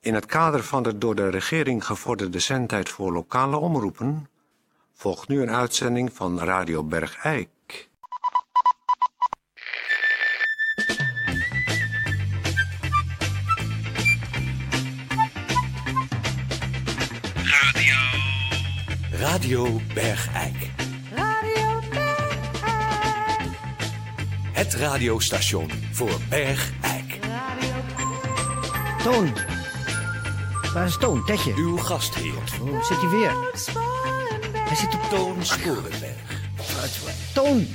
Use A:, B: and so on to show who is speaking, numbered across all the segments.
A: In het kader van de door de regering gevorderde zendtijd voor lokale omroepen volgt nu een uitzending van Radio Bergijk.
B: Radio Bergijk.
C: Radio
B: Het radiostation voor Bergijk.
D: Toon. Waar is Toon? Tetje.
B: Uw gastheer,
D: Oh, zit hij weer? Hij zit op
B: Toon Sporenberg.
D: Toon.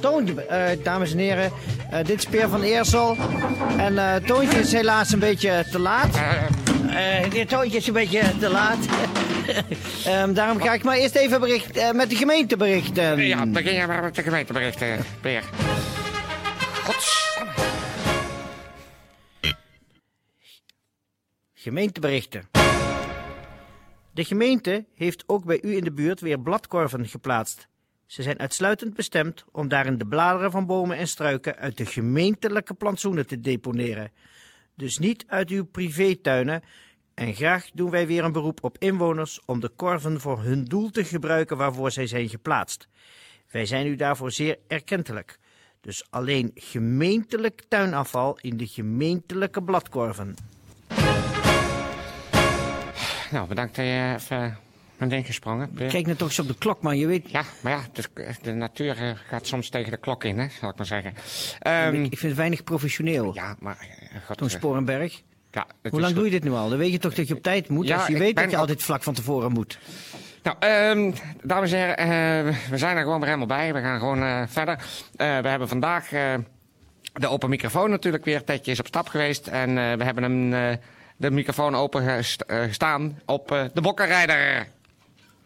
D: Toon, je- eh, dames en heren. eh, dit is Peer van Eersel. En eh, Toontje is helaas een beetje te laat. Eh, dit Toontje is een beetje te laat. Ehm, daarom ga ik maar eerst even bericht, eh, met de gemeente berichten.
E: Ja, begin jij maar met de gemeenteberichten, Peer. Gods.
D: Gemeenteberichten. De gemeente heeft ook bij u in de buurt weer bladkorven geplaatst. Ze zijn uitsluitend bestemd om daarin de bladeren van bomen en struiken uit de gemeentelijke plantsoenen te deponeren. Dus niet uit uw privétuinen. En graag doen wij weer een beroep op inwoners om de korven voor hun doel te gebruiken waarvoor zij zijn geplaatst. Wij zijn u daarvoor zeer erkentelijk. Dus alleen gemeentelijk tuinafval in de gemeentelijke bladkorven.
E: Nou, bedankt dat je even bent ingesprongen, Peer.
D: Kijk net toch eens op de klok, man. Je weet,
E: Ja, maar ja, de, de natuur eh, gaat soms tegen de klok in, hè, zal ik maar zeggen. Ehm,
D: ik, ik vind het weinig professioneel.
E: ja, maar... eh, God,
D: Toon
E: eh,
D: Sporenberg.
E: ja, het
D: Hoe
E: is
D: lang doe
E: goed.
D: je dit nu al? Dan weet je toch dat je op tijd moet.
E: Ja,
D: als je
E: ik
D: weet
E: ben
D: dat je
E: op-
D: altijd vlak van tevoren moet.
E: Nou, ehm, dames en heren, eh, we zijn er gewoon weer helemaal bij. We gaan gewoon eh, verder. Eh, we hebben vandaag eh, de open microfoon natuurlijk weer. Tedje is op stap geweest en eh, we hebben hem, eh, de microfoon open gest- eh, gestaan op eh, de bokkenrijder.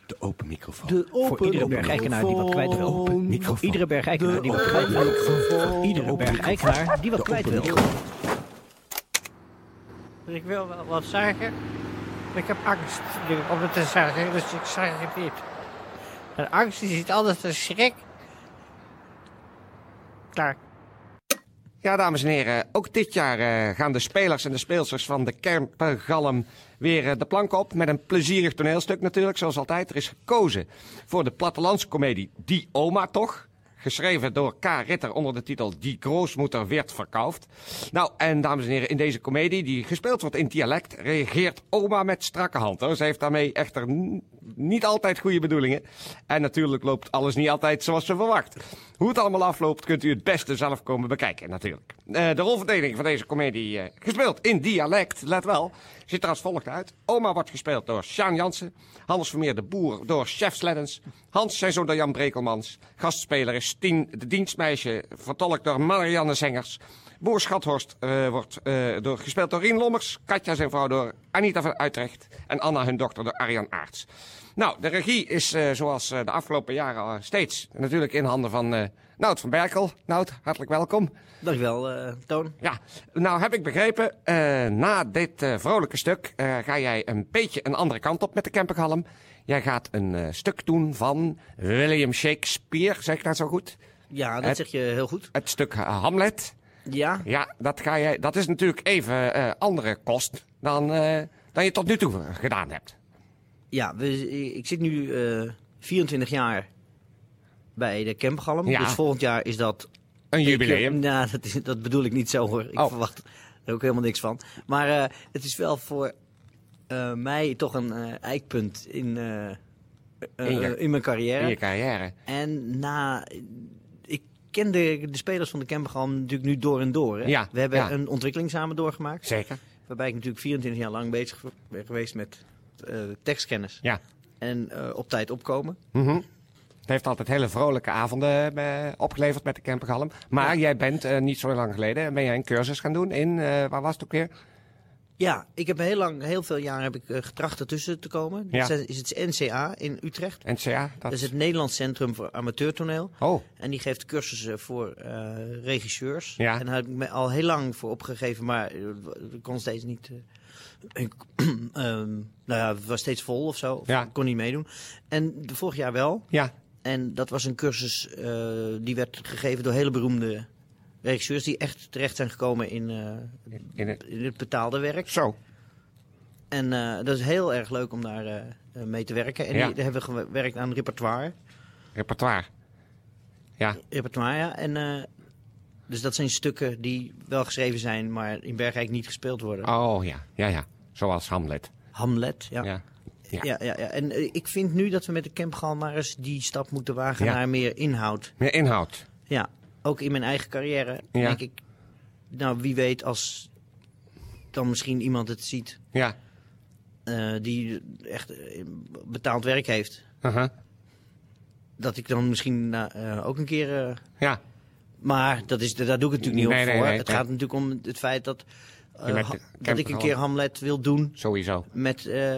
B: De open microfoon.
F: De
D: Voor
F: open
D: iedere berg-eigenaar die wat kwijt wil.
B: microfoon.
D: Iedere berg-eigenaar die wat
F: De
D: kwijt wil.
F: microfoon.
D: Iedere
B: open
D: berg-eigenaar die wat kwijt wil.
B: microfoon.
D: Ik wil wel wat zeggen. maar Ik heb angst om het te zeggen, dus ik zeg het niet. En angst is iets anders dan schrik. Klaar.
E: Ja, dames en heren, ook dit jaar eh, gaan de spelers en de speelsters van de Kerpengalm weer eh, de plank op. Met een plezierig toneelstuk natuurlijk, zoals altijd. Er is gekozen voor de plattelandscomedie Die Oma Toch? Geschreven door K. Ritter onder de titel Die Groosmoeder werd verkauwd. Nou, en dames en heren, in deze comedie die gespeeld wordt in dialect, reageert oma met strakke hand. Hoor. Ze heeft daarmee echter n- niet altijd goede bedoelingen. En natuurlijk loopt alles niet altijd zoals ze verwacht. Hoe het allemaal afloopt, kunt u het beste zelf komen bekijken, natuurlijk. Eh, de rolverdeling van deze comedie, eh, gespeeld in dialect, let wel, ziet er als volgt uit. Oma wordt gespeeld door Sjaan Jansen. Hans Vermeer de Boer door Chef Sleddens. Hans zijn zoon door Jan Brekelmans. Gastspeler is Tien de Dienstmeisje, vertolkt door Marianne Zengers. Boer Schathorst eh, wordt eh, door, gespeeld door Rien Lommers. Katja zijn vrouw door Anita van Utrecht. En Anna hun dochter door Arjan Aarts. Nou, de regie is eh, zoals eh, de afgelopen jaren al steeds natuurlijk in handen van eh Nout van Berkel. Nout, hartelijk welkom.
D: Dankjewel, eh Toon.
E: Ja, nou heb ik begrepen, eh, na dit eh, vrolijke stuk eh, ga jij een beetje een andere kant op met de Kempengalm. Jij gaat een eh, stuk doen van William Shakespeare, zeg ik dat zo goed?
D: Ja,
E: Het-
D: dat zeg je heel goed.
E: Het stuk eh, Hamlet.
D: Ja,
E: Ja, dat, ga jij, dat is natuurlijk even eh, andere kost dan, eh, dan je tot nu toe eh, gedaan hebt.
D: Ja, we, ik zit nu eh, 24 jaar bij de Kempgalm.
E: Ja.
D: Dus volgend jaar is dat...
E: Een jubileum.
D: Nou, dat, is, dat bedoel ik niet zo hoor. Ik
E: Oh.
D: verwacht er ook helemaal niks van. Maar eh, het is wel voor eh, mij toch een eh, eikpunt in, eh, eh,
E: In je-
D: in mijn
E: In
D: carrière.
E: je carrière.
D: En na... Ik ken de, de spelers van de Kempgalm natuurlijk nu door en door. Hè?
E: Ja,
D: We hebben
E: ja.
D: een ontwikkeling samen doorgemaakt.
E: Zeker.
D: Waarbij ik natuurlijk 24 jaar lang bezig ben geweest met eh, tekstkennis.
E: Ja.
D: En eh, op tijd opkomen.
E: Mhm. Het heeft altijd hele vrolijke avonden eh, opgeleverd met de Kempengalm. Maar jij bent eh, niet zo lang geleden, ben jij een cursus gaan doen in, eh, waar was het ook weer?
D: Ja, ik heb heel lang, heel veel jaren heb ik eh, getracht ertussen te komen.
E: Ja.
D: Dat is het NCA in Utrecht.
E: NCA? Dat...
D: Dat is het Nederlands Centrum voor Amateurtoneel.
E: Oh,
D: En die geeft cursussen voor eh, regisseurs.
E: Ja.
D: En daar heb ik me al heel lang voor opgegeven, maar eh, ik kon steeds niet. eh, ik, ehm, nou ja, het was steeds vol of zo. Of
E: Ja.
D: Ik kon niet meedoen. En de- vorig jaar wel.
E: ja.
D: En dat was een cursus eh, die werd gegeven door hele beroemde regisseurs die echt terecht zijn gekomen in, eh,
E: In het...
D: in het betaalde werk.
E: Zo.
D: En eh, dat is heel erg leuk om daar eh, eh, mee te werken. En
E: Ja.
D: die, daar hebben we gewerkt aan repertoire.
E: Repertoire. Ja.
D: repertoire, ja. En, eh, dus dat zijn stukken die wel geschreven zijn, maar in Bergijk niet gespeeld worden.
E: Oh ja. Ja, ja. Zoals Hamlet.
D: Hamlet, ja. Ja.
E: Ja.
D: Ja,
E: Ja.
D: ja, En eh, ik vind nu dat we met de Campgal maar eens die stap moeten wagen
E: Ja.
D: naar meer inhoud.
E: Meer inhoud.
D: Ja, ook in mijn eigen carrière
E: Ja.
D: denk ik, nou wie weet als dan misschien iemand het ziet
E: Ja.
D: eh, die echt eh, betaald werk heeft.
E: Uh-huh.
D: Dat ik dan misschien nou, eh, ook een keer... eh,
E: Ja.
D: Maar dat is, daar doe ik het natuurlijk niet
E: Nee,
D: op
E: nee,
D: voor.
E: nee,
D: het
E: nee.
D: gaat natuurlijk om het feit dat, eh,
E: Je bent
D: Ha-
E: de
D: dat ik een
E: camper
D: keer Hamlet wil doen
E: Sowieso.
D: met eh,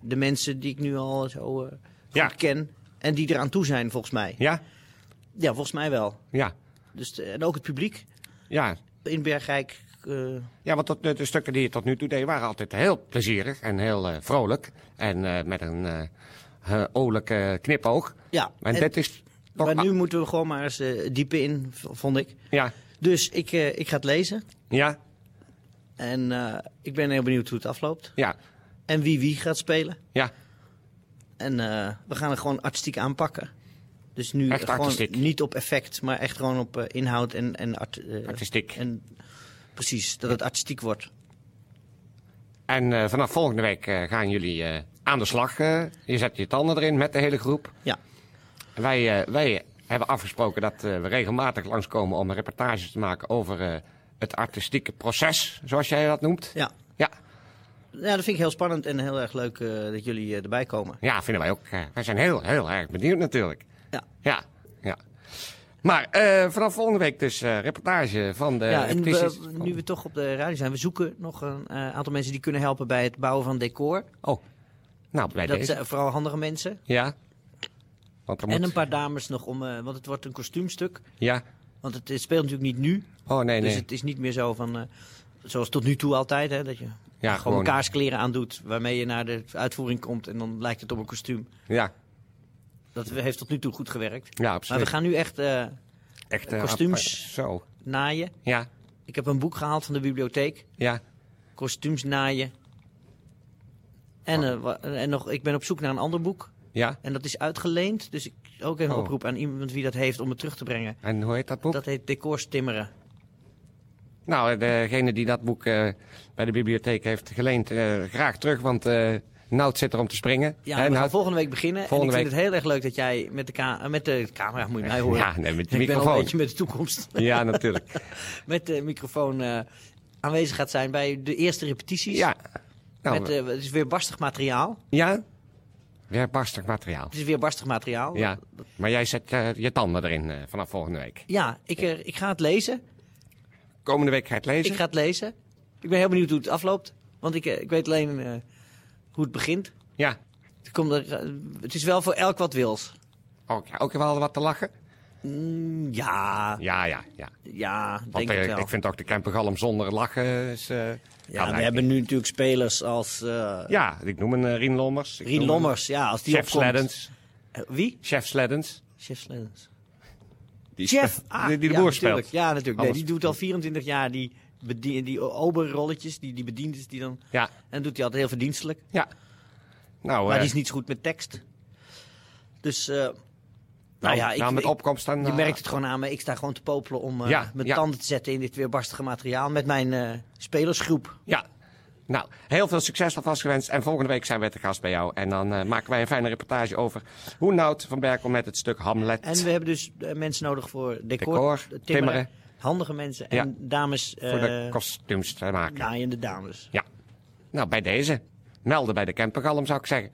D: de mensen die ik nu al zo eh, goed
E: Ja.
D: ken. En die eraan toe zijn, volgens mij.
E: Ja.
D: Ja, volgens mij wel.
E: Ja.
D: Dus, eh, en ook het publiek
E: Ja.
D: in Bergrijk. eh,
E: Ja, want dat, de, de stukken die je tot nu toe deed waren altijd heel plezierig en heel eh, vrolijk. En eh, met een eh eh, olijke knipoog.
D: ja,
E: En,
D: En-
E: dit is toch...
D: maar nu moeten we gewoon maar eens eh, diepen in, v- vond ik.
E: Ja,
D: Dus ik, eh, ik ga het lezen.
E: ja,
D: En eh, ik ben heel benieuwd hoe het afloopt.
E: ja,
D: En wie wie gaat spelen.
E: ja.
D: En eh, we gaan het gewoon artistiek aanpakken. Dus nu
E: Echt
D: gewoon
E: artistiek.
D: niet op effect, maar echt gewoon op eh, inhoud en, en art, eh,
E: Artistiek.
D: En precies, dat het artistiek wordt.
E: En eh, vanaf volgende week eh, gaan jullie eh, aan de slag. eh. je zet je tanden erin met de hele groep.
D: Ja,
E: En Wij, eh, wij hebben afgesproken dat eh, we regelmatig langskomen om reportages te maken over eh, het artistieke proces, zoals jij dat noemt.
D: ja.
E: Ja,
D: ja, dat vind ik heel spannend en heel erg leuk eh, dat jullie eh, erbij komen.
E: ja vinden wij ook. eh, wij zijn heel, heel erg benieuwd natuurlijk.
D: Ja.
E: Ja, ja. Maar eh, vanaf volgende week dus eh, reportage van de
D: ja, en
E: repetities.
D: we, nu we toch op de radio zijn, we zoeken nog een eh, aantal mensen die kunnen helpen bij het bouwen van decor.
E: Oh, nou, bij
D: dat
E: deze.
D: zijn vooral handige mensen.
E: Ja. Want er moet...
D: En een paar dames nog om, eh, want het wordt een kostuumstuk.
E: Ja.
D: Want het, eh, speelt natuurlijk niet nu,
E: Oh, nee,
D: dus
E: nee.
D: het is niet meer zo van, eh, zoals tot nu toe altijd, hè, dat je
E: Ja,
D: gewoon
E: gewoon.
D: kaarskleren aandoet waarmee je naar de uitvoering komt en dan lijkt het op een kostuum.
E: Ja,
D: Dat heeft tot nu toe goed gewerkt.
E: ja,
D: Maar
E: absoluut.
D: we gaan nu echt eh,
E: Echt, eh,
D: kostuums.
E: apart. Zo.
D: naaien.
E: Ja,
D: Ik heb een boek gehaald van de bibliotheek.
E: ja.
D: Kostuums naaien. En, eh, wa- en nog, ik ben op zoek naar een ander boek.
E: Ja.
D: En dat is uitgeleend. Dus ik ook even een
E: Oh.
D: oproep aan iemand wie dat heeft om het terug te brengen.
E: En hoe heet dat boek?
D: Dat heet Decors Timmeren.
E: Nou, degene die dat boek eh, bij de bibliotheek heeft geleend, eh, graag terug, want eh Nout zit er om te springen.
D: Ja,
E: Hè,
D: we gaan
E: Nout?
D: volgende week beginnen.
E: Volgende
D: en ik
E: week.
D: vind het heel erg leuk dat jij met de, ka- eh, met de camera, moet je mij horen.
E: Ja, nee, met de
D: ik ben al
E: microfoon.
D: een beetje met de toekomst.
E: Ja, natuurlijk.
D: met de microfoon eh, aanwezig gaat zijn bij de eerste repetities.
E: Ja. Nou,
D: Met, eh, het is weer barstig materiaal.
E: ja. Weer barstig materiaal.
D: Het is weer barstig materiaal.
E: Ja. Maar jij zet eh, je tanden erin eh, vanaf volgende week.
D: Ja, ik, eh, ik ga het lezen.
E: Komende week ga je het lezen.
D: Ik ga het lezen. Ik ben heel benieuwd hoe het afloopt. Want ik, eh, ik weet alleen eh, hoe het begint.
E: Ja.
D: Het, komt er, eh, het is wel voor elk wat wils.
E: Ook, ja. ook wel wat te lachen.
D: Mm, ja,
E: Ja, ja, ja.
D: ja,
E: Want
D: denk ik
E: eh,
D: wel.
E: ik vind ook de Kempergalm zonder lachen is... eh, kan
D: ja, we
E: eigenlijk
D: hebben
E: niet.
D: nu natuurlijk spelers als eh
E: Ja, ik noem een eh, Rien Lommers. ik
D: Rien
E: noem een
D: Lommers. Ja, als die
E: Chef
D: opkomt.
E: Sleddens.
D: Eh, wie?
E: Chef Sleddens.
D: Chef Sleddens.
E: Die
D: Chef!
E: spe-
D: Ah,
E: die, die de
D: ja,
E: boer
D: natuurlijk.
E: speelt.
D: Ja, natuurlijk. Nee,
E: Anders-
D: die doet al 24 jaar die, bedien, die oberrolletjes, die, die bedienders. Die dan,
E: Ja,
D: en doet hij altijd heel verdienstelijk.
E: ja. Nou,
D: Maar
E: eh,
D: die is niet zo goed met tekst. Dus, eh, nou,
E: nou,
D: ja, ik,
E: nou, met
D: ik-
E: opkomst dan...
D: je
E: eh,
D: merkt het gewoon aan me. Ik sta gewoon te popelen om eh,
E: Ja,
D: mijn
E: ja.
D: tanden te zetten in dit weerbarstige materiaal met mijn eh, spelersgroep.
E: Ja. Nou, heel veel succes alvast gewenst. En volgende week zijn wij te gast bij jou. En dan eh, maken wij een fijne reportage over hoe Nout van Berkel met het stuk Hamlet.
D: En we hebben dus eh, mensen nodig voor decor,
E: Decor,
D: eh, timmeren,
E: timmeren.
D: handige mensen en dames.
E: voor de
D: eh,
E: kostuums te maken.
D: naaiende dames.
E: Ja. Nou, bij deze. Melden bij de Kempergalm zou ik zeggen.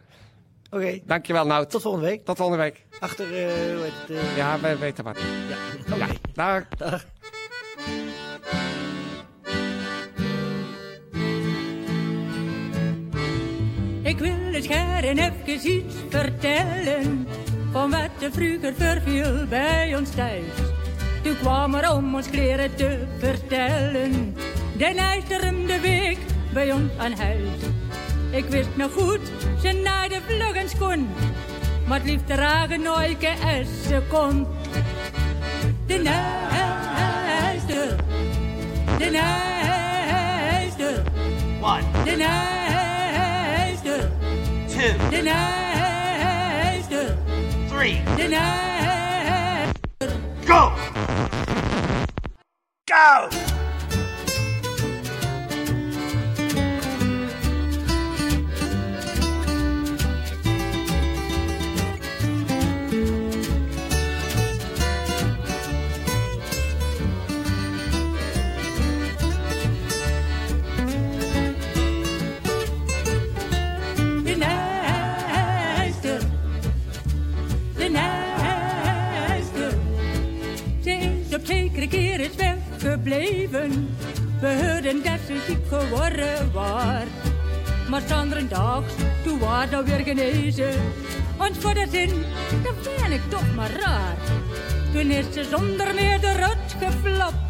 D: Oké,
E: Dankjewel, Nout.
D: tot volgende week.
E: Tot volgende week.
D: Achter, eh, hoe heet het, eh,
E: Ja, wij weten wat.
D: ja. Oké.
E: Ja, daar.
D: Dag.
C: Ik wil het garen even iets vertellen van wat er vroeger verviel bij ons thuis. Toen kwam er om ons kleren te vertellen, de ijzerende week bij ons aan huis. Ik wist nog goed, ze naaide vluggens kon, maar het liefst dragen nooit een kon. De naast nijster. De nijster.
G: One,
C: De nijster.
G: two,
C: De nijster.
G: three,
C: De nijster.
G: go! Go!
C: De nijster. De nijster. Ze is op zekere keer eens weggebleven. We hoorden dat ze ziek geworden was. Maar zanderendags, toen was ze weer genezen. Want voor de zin, dat vind ik toch maar raar. Toen is ze zonder meer de rot geflapt.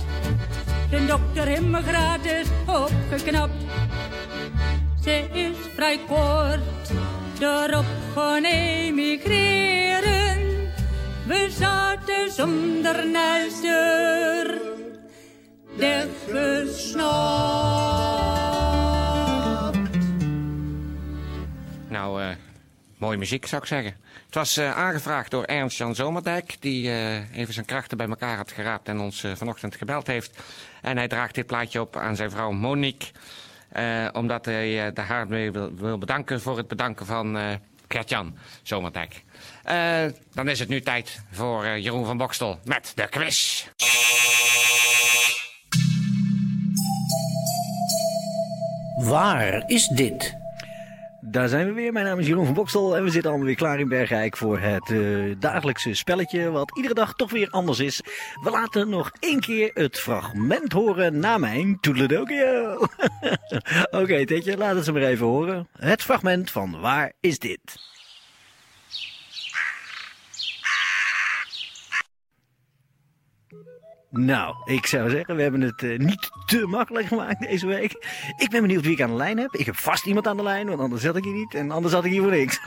C: De dokter hem gratis opgeknapt. Ze is vrij kort erop gaan emigreren. We zaten zonder nijster. De gesnapt.
E: Nou, eh, mooie muziek zou ik zeggen. Het was eh, aangevraagd door Ernst-Jan Zomerdijk, die eh, even zijn krachten bij elkaar had geraapt en ons eh, vanochtend gebeld heeft. En hij draagt dit plaatje op aan zijn vrouw Monique, eh, omdat hij eh, de haar mee wil, wil bedanken voor het bedanken van eh Gert-Jan Zomerdijk. Eh, dan is het nu tijd voor eh, Jeroen van Bokstel met de quiz.
H: Waar is dit?
D: Daar zijn we weer. Mijn naam is Jeroen van Bokstel en we zitten allemaal weer klaar in Bergijk voor het eh, dagelijkse spelletje, wat iedere dag toch weer anders is. We laten nog één keer het fragment horen na mijn toedeledokie. Oké, Tetje, laat het ze maar even horen. Het fragment van Waar is dit? Nou, ik zou zeggen, we hebben het eh, niet te makkelijk gemaakt deze week. Ik ben benieuwd wie ik aan de lijn heb. Ik heb vast iemand aan de lijn, want anders zat ik hier niet. En anders zat ik hier voor niks.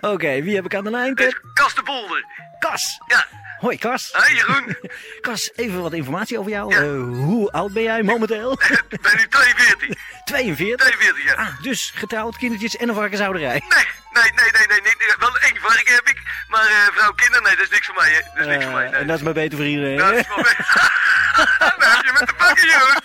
D: Oké, wie heb ik aan de lijn? Ted?
I: Kas de Bolder.
D: Kas!
I: Ja.
D: Hoi, Kas.
I: Hé Jeroen,
D: Kas, even wat informatie over jou. Eh, hoe oud ben jij momenteel?
I: ik ben nu 42.
D: 42.
I: 42 jaar.
D: Ah, dus getrouwd, kindertjes en een varkenshouderij.
I: Nee, nee, nee, nee, nee, nee, nee. Wel één varken heb ik, maar eh vrouw, kinderen, nee, dat is niks voor mij, hè. Dat is niks voor mij,
D: Eh,
I: nee.
D: en dat is maar beter voor iedereen.
I: Nou,
D: hè?
I: is wel weg. Nou, heb je met de pakken, Jeroen.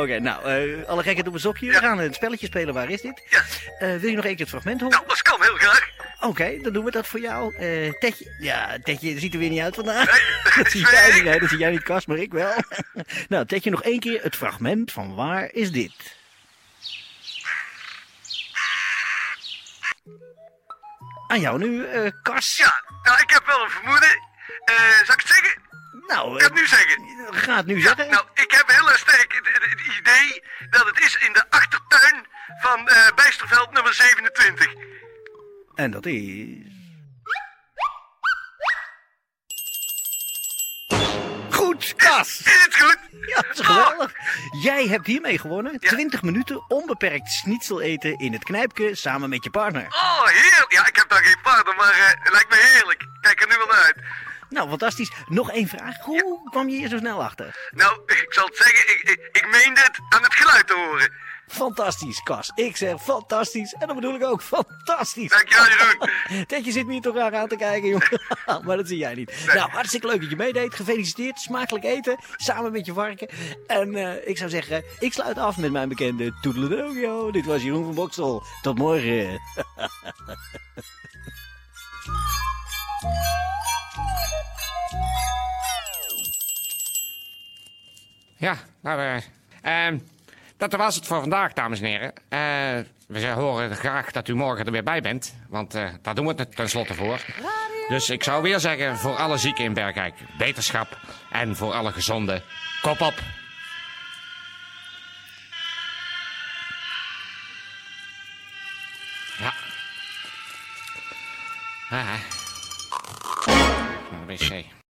D: Oké, nou, eh, alle gekheid op een sokje. We gaan het spelletje spelen. Waar is dit?
I: Ja.
D: Eh, wil je nog één keer het fragment horen?
I: Nou, dat kan heel graag.
D: Oké, dan doen we dat voor jou. Eh Tetje, ja, Tetje ziet er weer niet uit vandaag.
I: Nee,
D: dat, zie
I: zweer
D: jij,
I: ik.
D: niet. nee, dat zie jij niet, Kas, maar ik wel. nou, Tetje, nog één keer het fragment van waar is dit? Aan jou nu, eh Kas.
I: Ja, nou, ik heb wel een vermoeden. Eh, zal ik het zeggen?
D: Nou,
I: Ik
D: eh,
I: ga het nu zeggen.
D: ga het nu
I: Ja,
D: zeggen.
I: nou, ik heb heel erg sterk het, het- het idee dat het is in de achtertuin van eh Bijsterveld nummer 27.
D: En dat is... Goed, Kas!
I: Is het goed?
D: Ja, dat is geweldig. Jij hebt hiermee gewonnen 20 minuten onbeperkt schnitzel eten in het knijpje samen met je partner.
I: Oh, heerlijk. Ja, ik heb daar geen paarden, maar eh, het lijkt me heerlijk. Kijk er nu wel naar uit.
D: Nou, fantastisch. Nog één vraag. Hoe kwam je hier zo snel achter?
I: Nou, ik zal het zeggen, ik, ik, ik meen dit aan het geluid te horen.
D: Fantastisch, Kas. Ik zeg fantastisch. En dat bedoel ik ook. Fantastisch.
I: Dankjewel, Jeroen.
D: Tetje zit me hier toch raar aan te kijken, jongen. maar dat zie jij niet. Nou, hartstikke leuk dat je meedeed. Gefeliciteerd. Smakelijk eten. Samen met je varken. En eh, ik zou zeggen, ik sluit af met mijn bekende Toedeledogio. Dit was Jeroen van Boksel. Tot morgen.
E: Ja, nou, eh, ehm, dat was het voor vandaag, dames en heren. Eh, we z- horen graag dat u morgen er weer bij bent, want eh, daar doen we het tenslotte voor. Dus ik zou weer zeggen, voor alle zieken in Bergijk, beterschap. En voor alle gezonden, kop op. Ja. Ah, Naar de wc.